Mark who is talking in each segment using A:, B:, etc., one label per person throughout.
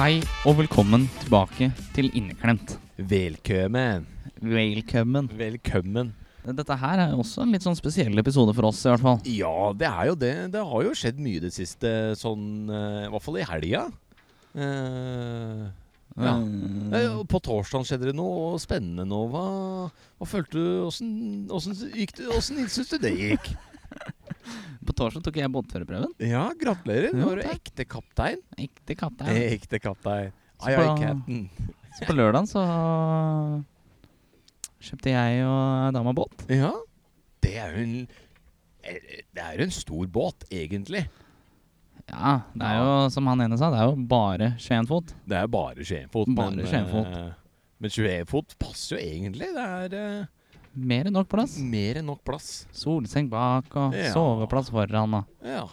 A: Hei og velkommen tilbake til Inneklemt.
B: Velkommen.
A: Velkommen.
B: Velkommen.
A: Dette her er også en litt sånn spesiell episode for oss, i hvert fall.
B: Ja, det er jo det. Det har jo skjedd mye det siste, sånn eh, I hvert fall i helga. Eh, Ja.
A: Eh,
B: eh, og på torsdag skjedde det noe spennende nå. Hva, hva følte du Åssen åssen gikk det? Åssen syns du det gikk?
A: På torsdag tok jeg båtførerprøven.
B: Ja, gratulerer.
A: Jo,
B: Nå er du ekte kaptein.
A: Ekte katt der.
B: Ekte kaptein.
A: Så
B: Ai, ai,
A: bra.
B: captain.
A: Så på lørdag så kjøpte jeg og ei dame båt.
B: Ja. Det er jo en eh, Det er jo en stor båt, egentlig.
A: Ja, det er jo som han ene sa, det er jo bare 21 fot.
B: Det er bare Skienfot.
A: Bare
B: men, eh,
A: Skienfot.
B: Men 21 fot passer jo egentlig. Det er eh,
A: Mer enn nok plass.
B: mer enn nok plass.
A: Solseng bak og
B: Ja.
A: soveplass foran og
B: Ja.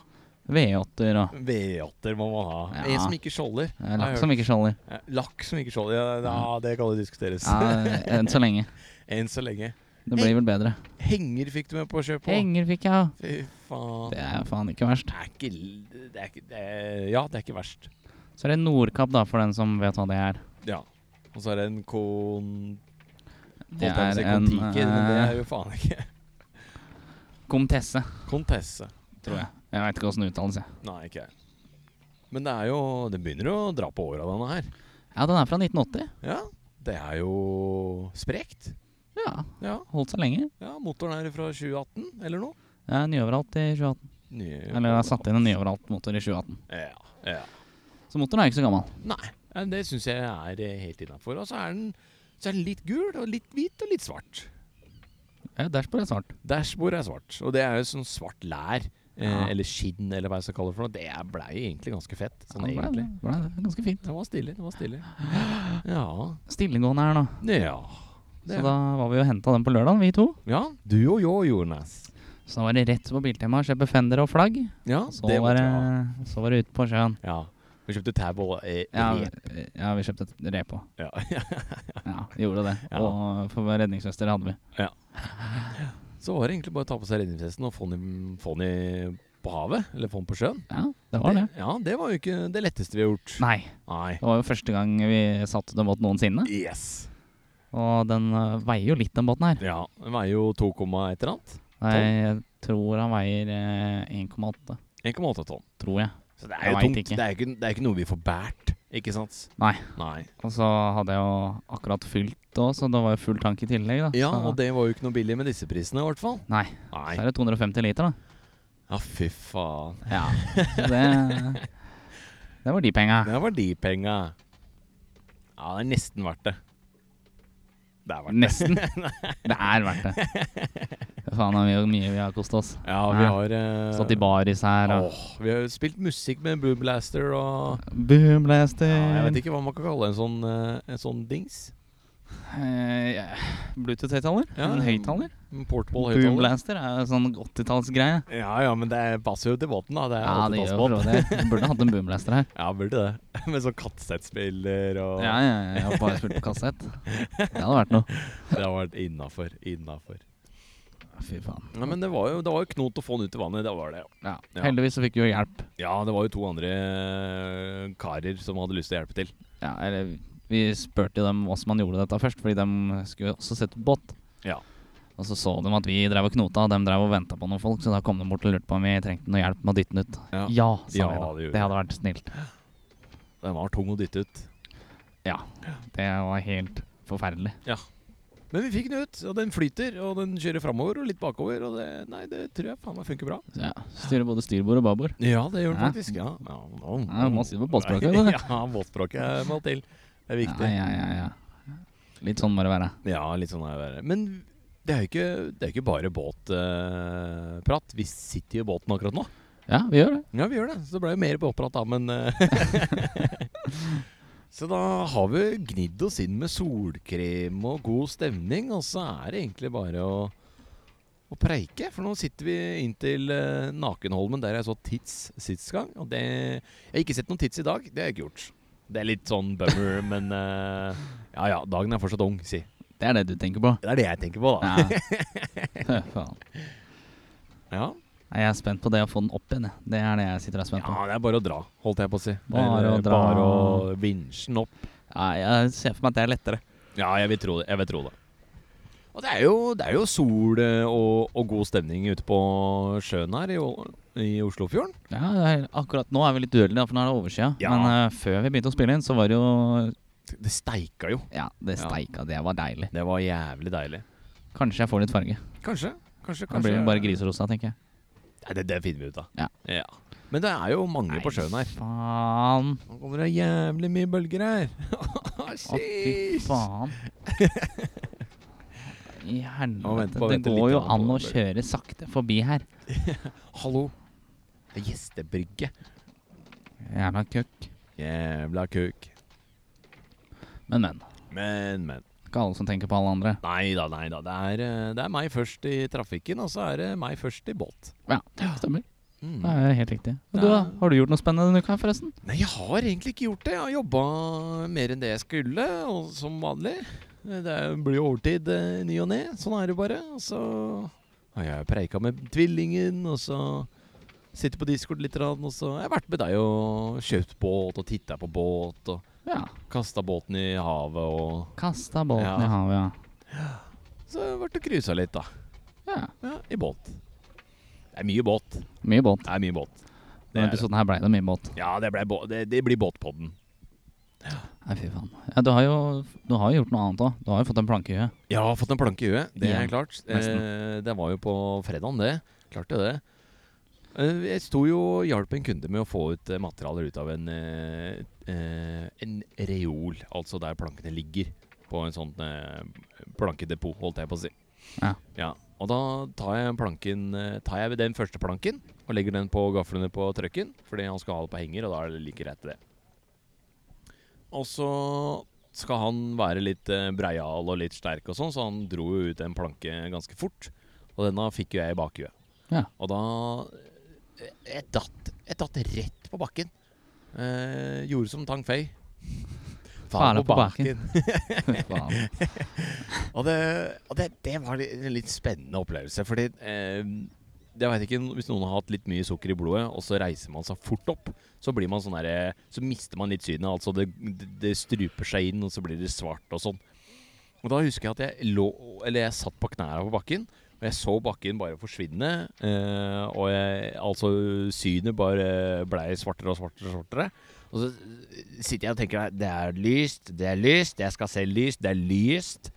A: V8-er og
B: V8-er må man ha.
A: Ja.
B: En som ikke skjolder.
A: eh,
B: Har jeg
A: lakk som ikke skjolder.
B: hørt. Eh, Lakk som ikke skjolder. Ja, ja, det kan jo diskuteres.
A: Ja, enn så lenge.
B: Enn så lenge.
A: Det blir vel bedre.
B: Henger fikk du med på å kjøpe. også.
A: Henger fikk jeg.
B: Fy faen.
A: Det er faen ikke verst.
B: Det er ikke l- det er ikke, det er, Ja, det er ikke verst.
A: Så er det Nordkapp, da, for den som vet hva det er.
B: Ja. Og så er det en kon...
A: Det
B: holdt jeg på å si
A: er en,
B: Kon-Tiki, men det
A: eh,
B: er jo faen ikke
A: Komtesse,
B: Kontesse.
A: tror jeg. Jeg veit ikke åssen det uttales, jeg.
B: Nei, ikke jeg. Men det er jo Det begynner jo å dra på åra, denne her.
A: Ja, den er fra 1980.
B: Ja. Det er jo sprekt.
A: Ja,
B: Ja.
A: holdt seg lenge.
B: ja motoren er fra 2018 eller noe.
A: Det er nyoveralt i 2018.
B: Ny,
A: Eller det altså? er satt inn en nyoveralt motor i 2018.
B: Ja, ja.
A: Så motoren er ikke så gammel.
B: Nei, ja, det syns jeg er eh, helt innafor. Og så er, den, så er den litt gul og litt hvit og litt svart.
A: Ja, Dashbordet er svart.
B: Dashbordet er svart, og det er jo sånn svart lær. eh,
A: Ja.
B: Eller skinn, eller hva jeg skal kalle det. for noe Det er- blei egentlig ganske fett.
A: Ja,
B: Sånn
A: det ble,
B: egentlig.
A: ble ganske fint.
B: Det var stilig. det var stilig Ja.
A: Stillegående her nå.
B: ja.
A: Så
B: Det.
A: da var vi og henta den på lørdag, vi to.
B: ja. Du og jeg, Jonas.
A: Så da var det rett på Biltema, kjøpe fender og flagg.
B: Ja,
A: Så
B: det
A: var
B: måtte
A: det,
B: jeg ha.
A: så var det ut på sjøen.
B: Ja. Vi kjøpte tau og eh,
A: Ja,
B: rep.
A: ja, vi kjøpte et rep òg.
B: Ja.
A: Ja, gjorde det.
B: Ja.
A: Og for redningsvester hadde vi.
B: Så var det egentlig bare å ta på seg redningsvesten og få den, i- få den i, på havet. Eller få den på sjøen.
A: Ja, det var det.
B: Ja, det var jo ikke det letteste vi har gjort.
A: Nei.
B: Nei.
A: Det var jo første gang vi satte den båten noensinne.
B: Yes.
A: Og den øh, veier jo litt, den båten her.
B: Ja, den veier jo 2, et eller annet.
A: Nei, Jeg tror han veier eh, 1,8.
B: 1,8 tonn.
A: Tror jeg.
B: Så det
A: Jeg
B: er jo
A: vet
B: tungt.
A: ikke.
B: Det er jo ikke, det er ikke noe vi får båret, ikke sant?
A: Nei.
B: Nei.
A: Og så hadde jeg jo akkurat fylt òg, så det var jo full tank i tillegg. da
B: Ja,
A: så,
B: og det var jo ikke noe billig med disse prisene, i hvert fall.
A: Nei.
B: Nei.
A: så er det 250 liter, da.
B: Ja, fy faen.
A: Ja. Så det, det var de penga.
B: Det var de penga. Ja, det er nesten verdt det. Det er verdt det.
A: Nesten. Det er verdt det. Fy Faen, det er mye- mye vi har kosta oss.
B: Ja,
A: Nei.
B: vi har eh,
A: Stått i baris her og
B: Åh, vi har jo spilt musikk med Blue Blaster og
A: Boomblaster.
B: ja, Jeg vet ikke hva man kan kalle en sånn, eh, en sånn dings.
A: Bluetooth-høyttaler?
B: Ja,
A: en Eh, høyttaler?
B: En Portable høyttaler.
A: Boomblaster er jo sånn 80-tallsgreie.
B: Ja, ja, men det passer jo til båten, da. Det er
A: Ja, det gjør jo for så
B: alltid
A: vidt det. Vi Burde hatt en boomblaster her.
B: Ja, burde det. Med sånn kassettspiller og
A: Ja, ja, ja, jeg har bare spilt på kassett. Det hadde vært noe.
B: Det har vært innafor. Innafor.
A: Fy faen.
B: Nei, men det var jo, det var jo knot å få den ut i vannet. Det var det.
A: Ja.
B: Ja.
A: Heldigvis så fikk vi jo hjelp.
B: Ja, det var jo to andre eh, karer som hadde lyst til å hjelpe til.
A: Ja, eller vi spurte jo dem hvordan man gjorde dette først, fordi de skulle jo også sette båt.
B: Ja.
A: Og så så de at vi drev og knota, og de drev og venta på noen folk, så da kom de bort og lurte på om vi trengte noe hjelp med å dytte den ut.
B: Ja.
A: Ja, sa
B: Ja,
A: vi da.
B: det gjorde
A: Det hadde vært snilt.
B: Den var tung å dytte ut.
A: Ja. Det var helt forferdelig.
B: Men vi fikk den ut, og den flyter, og den kjører framover og litt bakover. Og det, nei, det tror jeg faen meg funker bra.
A: Så ja, Styrer både styrbord og babord.
B: Ja, det gjør den
A: Ja.
B: faktisk. Ja, ja, no,
A: Ja, du må si det på båtspråket, du.
B: ja, båtspråket må til. Det er viktig.
A: Ja, ja, ja, ja. Litt sånn må det være.
B: Ja, litt sånn er det. bare. Men det er jo ikke, det er ikke bare båtprat. vi sitter jo i båten akkurat nå.
A: Ja, vi gjør det.
B: Ja, vi gjør det. Så det ble jo mer båtprat da, men eh, Så da har vi gnidd oss inn med solkrem og god stemning, og så er det egentlig bare å og preike. For nå sitter vi inntil eh, Nakenholmen, der jeg så Tits sist gang. Og det Jeg har ikke sett noen Tits i dag. Det har jeg ikke gjort. Det er litt sånn bummer, men eh, Ja ja, dagen er fortsatt ung, si.
A: Det er det du tenker på?
B: Det er det jeg tenker på, da.
A: Ja. Fy faen.
B: Ja,
A: Nei, Jeg er spent på det å få den opp igjen. jeg. Det er det jeg sitter og er
B: ja.
A: spent på.
B: det er bare å dra, holdt jeg på å si. Det er,
A: Bare å
B: eh,
A: dra.
B: Bare å vinsje den opp.
A: Nei, jeg ser for meg at det er lettere.
B: Ja, jeg vil tro det. Jeg vil tro det. Og det er jo, det er jo sol eh, og, og god stemning ute på sjøen her i, O- i Oslofjorden.
A: Ja, det er, Akkurat nå er vi litt uheldige, da, for nå er det overskya.
B: Ja.
A: Men eh, før vi begynte å spille inn, så var det jo
B: Det steika jo.
A: Ja, det
B: Ja.
A: steika. Det var deilig.
B: Det var jævlig deilig.
A: Kanskje jeg får litt farge.
B: Kanskje. Kanskje,
A: Da
B: kanskje.
A: blir det bare griserosa, tenker jeg.
B: Nei, det, det finner vi ut av.
A: Ja.
B: Men det er jo mange på sjøen her.
A: Faen.
B: Nå kommer det jævlig mye bølger her.
A: Å, fy
B: Shit.
A: faen. I
B: Nå venter-
A: helvete.
B: bare
A: Det
B: venter
A: går
B: litt
A: jo
B: grann
A: an
B: på
A: å
B: det.
A: kjøre sakte forbi her.
B: Hallo. Det er gjestebrygge.
A: Jævla køkk.
B: Jævla kuk.
A: Men, men.
B: Men, men.
A: Ikke alle som tenker på alle andre.
B: Nei da, nei da. Det er, eh, det er meg først i trafikken, og så er det meg først i båt.
A: Ja, stemmer.
B: Mm.
A: Det er helt riktig. Og du,
B: Ja.
A: da? Har du gjort noe spennende denne uka, her, forresten?
B: Nei, jeg har egentlig ikke gjort det. Jeg har jobba mer enn det jeg skulle, og som vanlig. Det er- blir jo overtid eh, i ny og ne. Sånn er det bare. Og så har jeg preika med tvillingen, og så sitter på Discord litt, grann, og så har jeg vært med deg og kjøpt båt og titta på båt og
A: Ja.
B: kasta båten i havet og
A: Kasta båten
B: Ja.
A: i havet, ja.
B: Så har jeg vært og cruisa litt, da.
A: ja.
B: Ja, I båt. Det er mye båt.
A: Mye båt.
B: Det er mye båt. Det
A: Denne
B: er det.
A: episoden her ble det mye båt.
B: Ja, det, ble bå- det, det blir båtpodden.
A: Nei, fy faen. Ja, du har jo du har jo gjort noe annet òg. Du har jo fått en planke i huet.
B: Ja, fått en planke i huet. Det er
A: Igjen,
B: klart.
A: nesten.
B: Eh, det var jo på fredagen, det. Klarte det. Eh, jeg sto jo og hjalp en kunde med å få ut eh, materialer ut av en, eh, eh, en reol, altså der plankene ligger. På en sånn eh, plankedepot, holdt jeg på å si.
A: Ja.
B: Og da tar jeg, planken, eh, tar jeg den første planken og legger den på gaflene på trøkken, fordi han skal ha det på henger, og da er det like greit det. Og så skal han være litt eh, breial og litt sterk og sånn, så han dro jo ut en planke ganske fort. Og denne fikk jo jeg i bakhuet.
A: Ja.
B: Og da eh, Jeg datt, jeg datt rett på bakken. Eh, gjorde som Tang Fei.
A: Fale på bakken. Fy faen.
B: Og, det, og det, det var en litt spennende opplevelse, fordi eh, jeg vet ikke, Hvis noen har hatt litt mye sukker i blodet, og så reiser man seg fort opp, så blir man sånn derre- Så mister man litt synet. Altså det, det, det struper seg inn, og så blir det svart og sånn. Og da husker jeg at jeg lå Eller jeg satt på knærne på bakken, og jeg så bakken bare forsvinne. Eh, og jeg, altså synet bare blei svartere og svartere og svartere. Og så sitter jeg og tenker Det er lyst, det er lyst, jeg skal se lyst, det er lyst.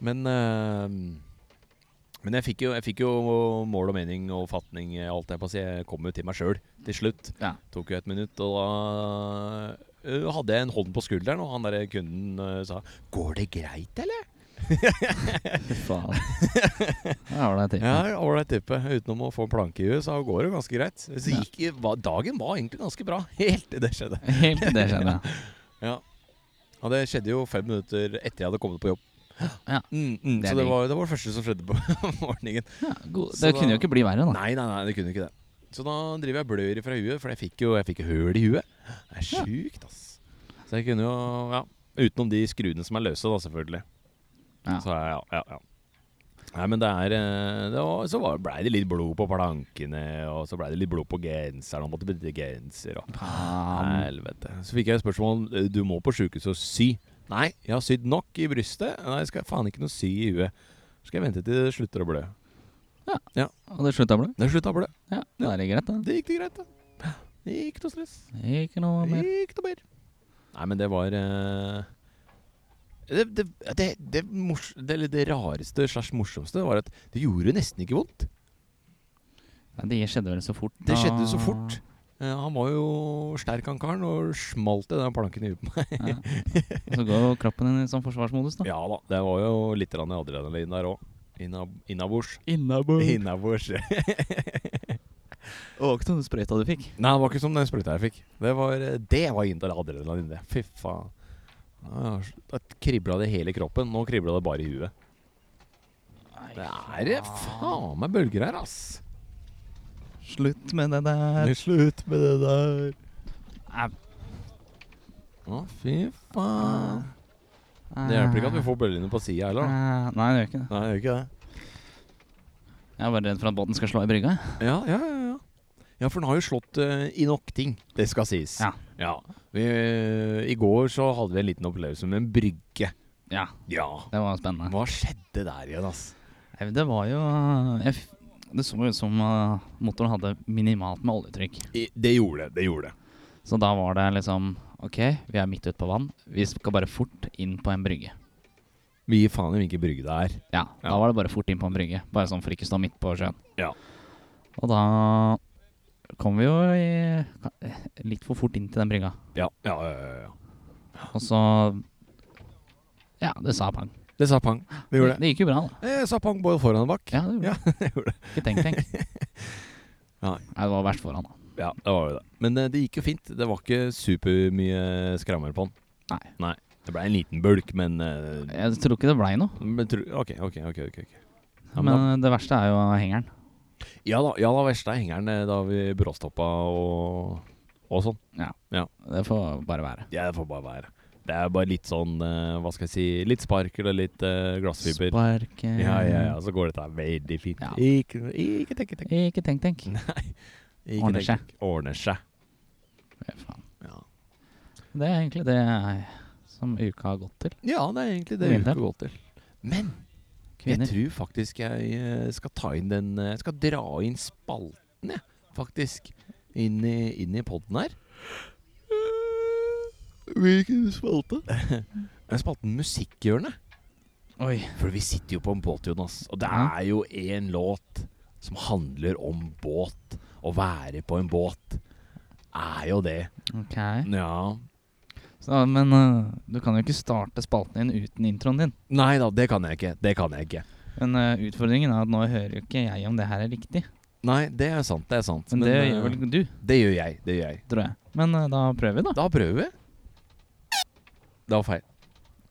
B: Men eh, Men jeg fikk, jo, jeg fikk jo mål og mening og fatning, eh, alt jeg på å si. Jeg kom jo til meg sjøl til slutt.
A: Ja.
B: Tok jo et minutt, og da eh, hadde jeg en hånd på skulderen, og han der kunden eh, sa 'Går det greit, eller?'
A: Fy faen. Det var det jeg tenkte.
B: Ja, ålreit tippe. Utenom å få en planke i huet, så går det ganske greit. Så
A: Ja.
B: gikk, va- dagen var egentlig ganske bra, helt til det skjedde.
A: Helt til det skjedde.
B: Ja. ja, det skjedde jo fem minutter etter jeg hadde kommet på jobb.
A: Ja.
B: Mm, mm,
A: Det er
B: så det
A: digg.
B: var, det var det første som skjedde på morgenen.
A: Ja, god.
B: Så
A: Det
B: da-
A: kunne jo ikke bli verre, da.
B: Nei, nei, nei, det kunne ikke det. Så da driver jeg blør fra huet, for jeg fikk jo jeg fikk jo høl i huet. Det er
A: Ja.
B: sjukt, ass. Så jeg kunne jo Ja. Utenom de skruene som er løse, da, selvfølgelig.
A: Ja.
B: Så ja, ja, ja. Nei, men det er eh, det var, Så var- blei det litt blod på plankene, og så blei det litt blod på genseren. Og måtte bytte genser og
A: Faen.
B: Helvete. Så fikk jeg et spørsmål eh, Du må på sjukehuset og sy. Nei, jeg har sydd nok i brystet. Nei, jeg skal faen ikke noe sy i huet. Så Skal jeg vente til det slutter å blø.
A: Og det slutta å blø?
B: Det slutta å blø.
A: Ja, da er det greit, da.
B: Det gikk det greit, da. Det gikk noe stress.
A: Ikke noe
B: Det
A: mer.
B: gikk noe mer. Nei, men det var eh, det, det, det, det, mors, det, eller det rareste slags morsomste var at det gjorde nesten ikke vondt.
A: Nei, det skjedde vel så fort.
B: Det skjedde så
A: da.
B: fort. Eh, han var jo sterk, han karen, og smalt i den planken i huet på meg.
A: Ja. Og så går jo kroppen din i sånn forsvarsmodus, da.
B: Ja da, det var jo litt grann adrenalin der òg. Innabords.
A: Innabords.
B: Innabords.
A: Det
B: Nei,
A: var ikke noen sprøyta du fikk.
B: det var ikke som den sprøyta jeg fikk. Det var, eh, det var inter- adrenalin, det. Fy faen. Ah, Da kribla det hele kroppen. Nå kribla det bare i huet. Det er eh, faen meg bølger her, ass.
A: Slutt med det der.
B: Slutt med det der.
A: Au.
B: Å, fy faen. Det hjelper ikke at vi får bølgene på sida heller. da.
A: Eh, Nei, det gjør ikke det.
B: Nei, det gjør ikke det.
A: Jeg er bare redd for at båten skal slå i brygga. jeg.
B: Ja, ja, ja. ja. Ja, for den har jo slått eh, i nok ting. Det skal sies.
A: Ja.
B: Vi, eh, I går så hadde vi en liten opplevelse med en brygge.
A: Ja,
B: Ja.
A: det var spennende.
B: Hva skjedde der igjen, ass?
A: Nei, Det var jo eh, jeg, f- Det så ut som eh, motoren hadde minimalt med oljetrykk.
B: I, det gjorde det. Det gjorde det.
A: Så da var det liksom Ok, vi er midt ute på vann. Vi skal bare fort inn på en brygge.
B: Vi gir faen i hvilken brygge det er.
A: Ja, da
B: Ja.
A: var det bare fort inn på en brygge. Bare sånn for ikke å stå midt på sjøen.
B: Ja.
A: Og da kom vi jo i, eh, litt for fort inn til den brygga.
B: Ja, ja, ja. ja, ja.
A: Og så Ja, det sa pang.
B: Det sa pang. Det gjorde det.
A: gikk jo bra, da.
B: Jeg sa pang både foran og bak.
A: Ja, det gjorde
B: Ja, det gjorde det.
A: Ikke tenk, tenk.
B: Nei.
A: Nei, det var verst foran, da.
B: Ja, det var jo det. Men eh, det gikk jo fint. Det var ikke supermye skrammer på den.
A: Nei.
B: Nei. Det ble en liten bulk, men eh,
A: Jeg tror ikke det blei noe.
B: men tro- OK, OK. ok, ok, ok. Ja, men
A: Men det verste er jo hengeren.
B: Ja da, ja da verste er hengeren eh, da vi bråstoppa og, og sånn.
A: Det får bare være.
B: Ja, det får bare være. Det er bare litt sånn, eh, hva skal jeg si, litt sparkel og litt eh, glassfiber.
A: Spark eh,
B: Ja, ja, ja, så går dette her veldig fint.
A: Ja.
B: Ikke, ikke tenk, tenk.
A: Ikke tenk, tenk.
B: Nei. Ikke
A: Ordner
B: tenk,
A: seg.
B: tenk. Ordner seg.
A: Ja, faen.
B: Ja.
A: Det er egentlig det jeg- som uka har gått til.
B: ja, det er egentlig det
A: Min
B: vi
A: del.
B: skal gå til. Men
A: Kvinner.
B: jeg tror faktisk jeg eh, skal ta inn den eh, Jeg skal dra inn spalten, jeg, faktisk. Inn i, inn i podden her. Hvilken spalte? Spalten Musikkhjørnet.
A: Oi.
B: For vi sitter jo på en båt, Jonas. Og det
A: Ja.
B: er jo en låt som handler om båt. Å være på en båt er jo det.
A: Ok.
B: Ja.
A: Så, men eh, du kan jo ikke starte spalten din uten introen din.
B: Nei da, det kan jeg ikke. Det kan jeg ikke.
A: Men eh, utfordringen er at nå hører jo ikke jeg om det her er riktig.
B: Nei, det er sant. Det er sant.
A: Men, det
B: eh,
A: gjør vel du,
B: det gjør jeg. Det gjør jeg.
A: tror jeg. Men eh, da prøver vi, da.
B: Da prøver vi. Det var feil.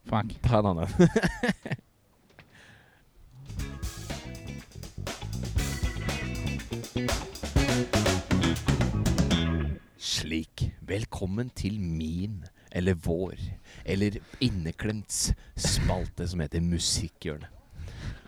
A: Fuck.
B: Ta en annen. Slik. Velkommen til min, eller vår, eller inneklemts spalte som heter Musikkhjørnet.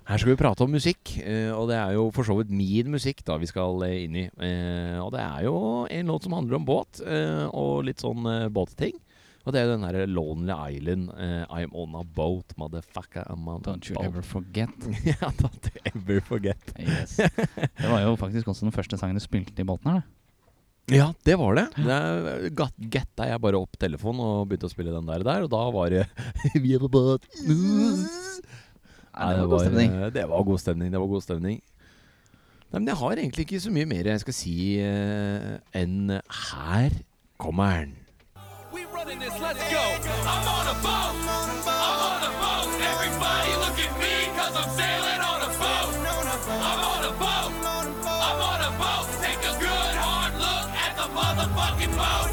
B: Her skal vi prate om musikk, eh, og det er jo for så vidt min musikk da vi skal eh, inn i. Eh, Og det er jo en låt som handler om båt, eh, og litt sånn eh, båtting. Og det er jo den derre Lonely Island, eh, I'm on a boat, motherfucker. I'm on
A: Don't you
B: a boat.
A: ever forget.
B: ja, don't you ever forget.
A: Yes. Det var jo faktisk også den første sangen du spilte i båten her, da.
B: Ja, det var det. det er- gat- Getta jeg bare opp telefonen og begynte å spille den der, der og da var det Vi er på båt.
A: Nei, det var god stemning.
B: Det var god stemning. Det var god stemning. Nei, men jeg har egentlig ikke så mye mer jeg skal si eh, enn her kommer den.
C: We running this, let's go. I'm on a boat. I'm on a boat. Everybody look at me, cause I'm sailing on a boat. I'm on a boat. I'm on a boat. Take a good hard look at the motherfucking boat.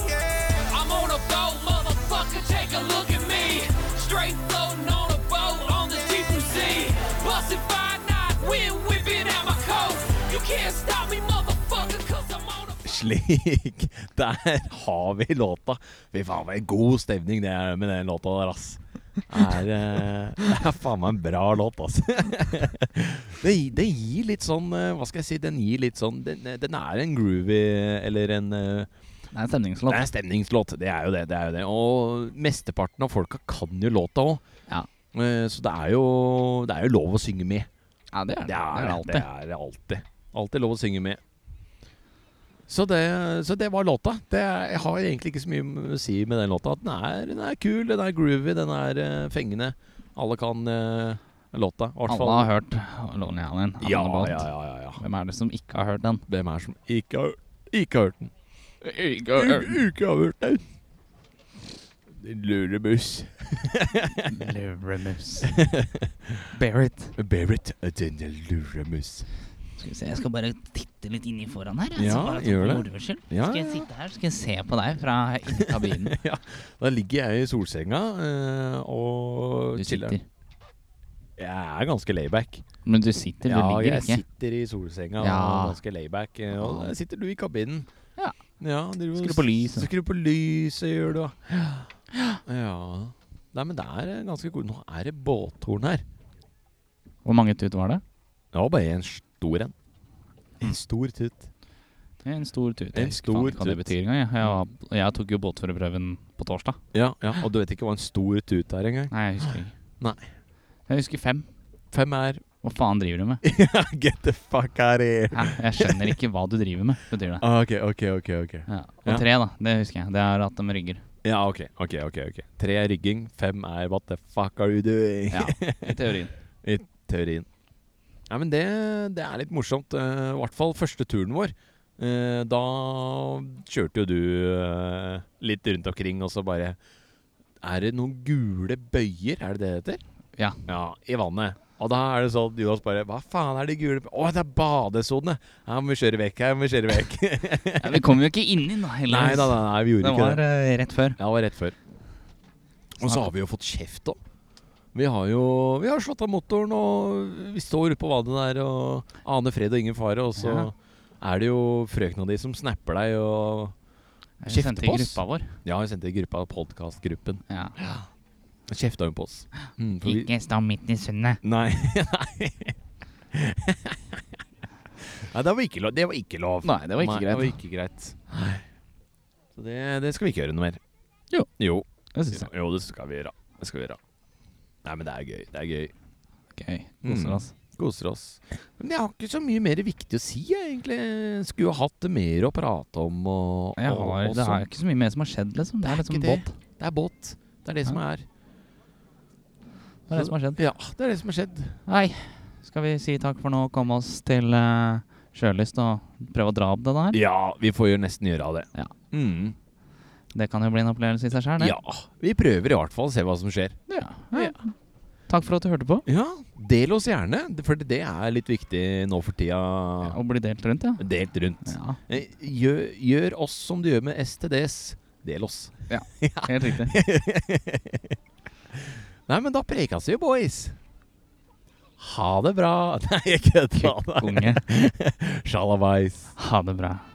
C: I'm on a boat, motherfucker, take a look at me. Straight floating on a boat on the deep blue sea. Busted by night, wind whipping at my coat. You can't stop me, motherfucker, cause I'm on a boat.
B: Slik. Der har vi låta. Fy faen, for en god stemning det er med den låta der, ass. Er, eh, det er faen meg en bra låt, ass. Det, gi- det gir litt sånn eh, Hva skal jeg si? Den gir litt sånn Den, den er en groovy Eller en eh,
A: Det er en
B: Det er
A: stemningslåt.
B: en stemningslåt. Det er jo det. det er jo det Og mesteparten av folka kan jo låta òg.
A: Ja.
B: Så det er, jo, det er jo lov å synge med.
A: Ja, det er det.
B: Det er
A: det
B: det
A: alltid.
B: Det er det alltid. Alltid lov å synge med. Så det, så det var låta. Det er, jeg har egentlig ikke så mye å si med den låta. At Den er, den er kul, den er groovy, den er eh, fengende. Alle kan eh, låta. i hvert
A: Alle
B: fall.
A: har hørt Lonely Island. I'm
B: ja,
A: on a boat.
B: ja, ja, ja, ja.
A: Hvem er det som ikke har hørt den?
B: Hvem er det som ikke har, ikke har hørt den?
A: Ikke
B: Ikke har hørt den! Din lurebuss.
A: Luremus. Bear it.
B: Barrett, din luremus.
A: Skal vi se, jeg skal bare titte litt inni foran her.
B: Ja, gjør det. Ja,
A: skal jeg
B: ja.
A: sitte her, skal jeg se på deg fra inni kabinen.
B: ja, da ligger jeg i solsenga eh, og
A: Du
B: chiller.
A: sitter.
B: Jeg er ganske layback.
A: Men du sitter, du
B: Ja,
A: ligger
B: jeg
A: ikke.
B: sitter i solsenga
A: Ja.
B: og ganske layback. eh, Og der sitter du i kabinen.
A: Ja.
B: Ja, du-
A: Skru på lyset.
B: Skru på lyset, gjør du. Ja. Nei, men det er eh, ganske god Nå er det båthorn her.
A: Hvor mange tut var det?
B: Det var bare en stor en. En stor tut.
A: En stor tut. Jeg
B: En
A: husker faen
B: stor
A: ikke hva det
B: tut.
A: betyr engang. Jeg, jeg, var- jeg tok jo båtførerprøven på torsdag.
B: Ja, ja, og du vet ikke hva en stor tut er engang?
A: Nei, jeg husker ikke.
B: Nei.
A: Jeg husker fem.
B: Fem er
A: Hva faen driver du med?
B: Get the fuck out of here.
A: Hæ? Jeg skjønner ikke hva du driver med, betyr det.
B: Ah, ok, ok, ok. ok
A: Ja.
B: Ja.
A: Og tre, da. Det husker jeg. Det er at de rygger.
B: Ja, ok, ok, ok, ok Tre er rygging, fem er what the fuck are you doing?
A: Ja, I teorien.
B: teorien. Nei, men det, det er litt morsomt. eh, I hvert fall første turen vår. Eh, da kjørte jo du eh, litt rundt omkring, og så bare Er det noen gule bøyer, er det det det heter?
A: Ja.
B: ja I vannet. Og da er det sånn at Jonas bare Hva faen er de gule bø- Å, det er badesone! Her må vi kjøre vekk, her må vi kjøre vekk.
A: Ja, vi kom jo ikke inn i den, da,
B: nei,
A: heldigvis.
B: nei, nei, nei, vi gjorde
A: Det
B: ikke det.
A: var eh, rett før.
B: Ja, det var rett før. Og så har vi jo fått kjeft òg. Vi har jo vi har slått av motoren, og vi står ute på vannet der og aner fred og ingen fare, og så
A: Ja.
B: er det jo frøkna di som snapper deg og
A: Vi sendte i
B: Kjefte på oss.
A: gruppa vår.
B: Ja, hun sendte i gruppa, podkastgruppen.
A: Ja.
B: Kjefta hun på oss. Mm, for vi-
A: Ikke stå midt i sundet.
B: Nei. Nei. Nei, det var ikke lov. Det var ikke lov.
A: Nei, det var ikke greit.
B: Det var ikke greit. Så det, det skal vi ikke gjøre noe mer.
A: Jo.
B: jo.
A: Det syns jeg.
B: Jo, det skal vi gjøre. Det skal vi gjøre. Nei, men det er gøy. Det er gøy.
A: Gøy. Koser
B: Mm.
A: oss.
B: Koser oss. Men jeg har ikke så mye mer viktig å si, jeg, egentlig. Skulle jo hatt mer å prate om. Og,
A: Jeg
B: og,
A: har,
B: og
A: det
B: sånn.
A: er ikke så mye mer som har skjedd, liksom. Det er liksom
B: ikke
A: båt.
B: Det er båt. Det er det
A: Ja.
B: som er.
A: Det er det som har skjedd.
B: Ja, det er det som har skjedd.
A: Nei, skal vi si takk for nå og komme oss til eh, sjølyst og prøve å dra opp det der?
B: Ja, vi får jo nesten gjøre av det.
A: Ja.
B: Mm.
A: Det kan jo bli en opplevelse i seg sjøl, det.
B: ja. Vi prøver i hvert fall å se hva som skjer.
A: Ja.
B: Ja.
A: Takk for at du hørte på.
B: Ja, del oss gjerne, for det er litt viktig nå for tida.
A: Og bli delt rundt, ja.
B: Delt rundt.
A: ja.
B: Eh, Gjør, gjør oss som du gjør med STDs. Del oss.
A: Helt riktig.
B: Nei, men da prekas vi, boys. Ha det bra. Nei, jeg kødder.
A: Unge.
B: Sjalabais.
A: Ha det bra.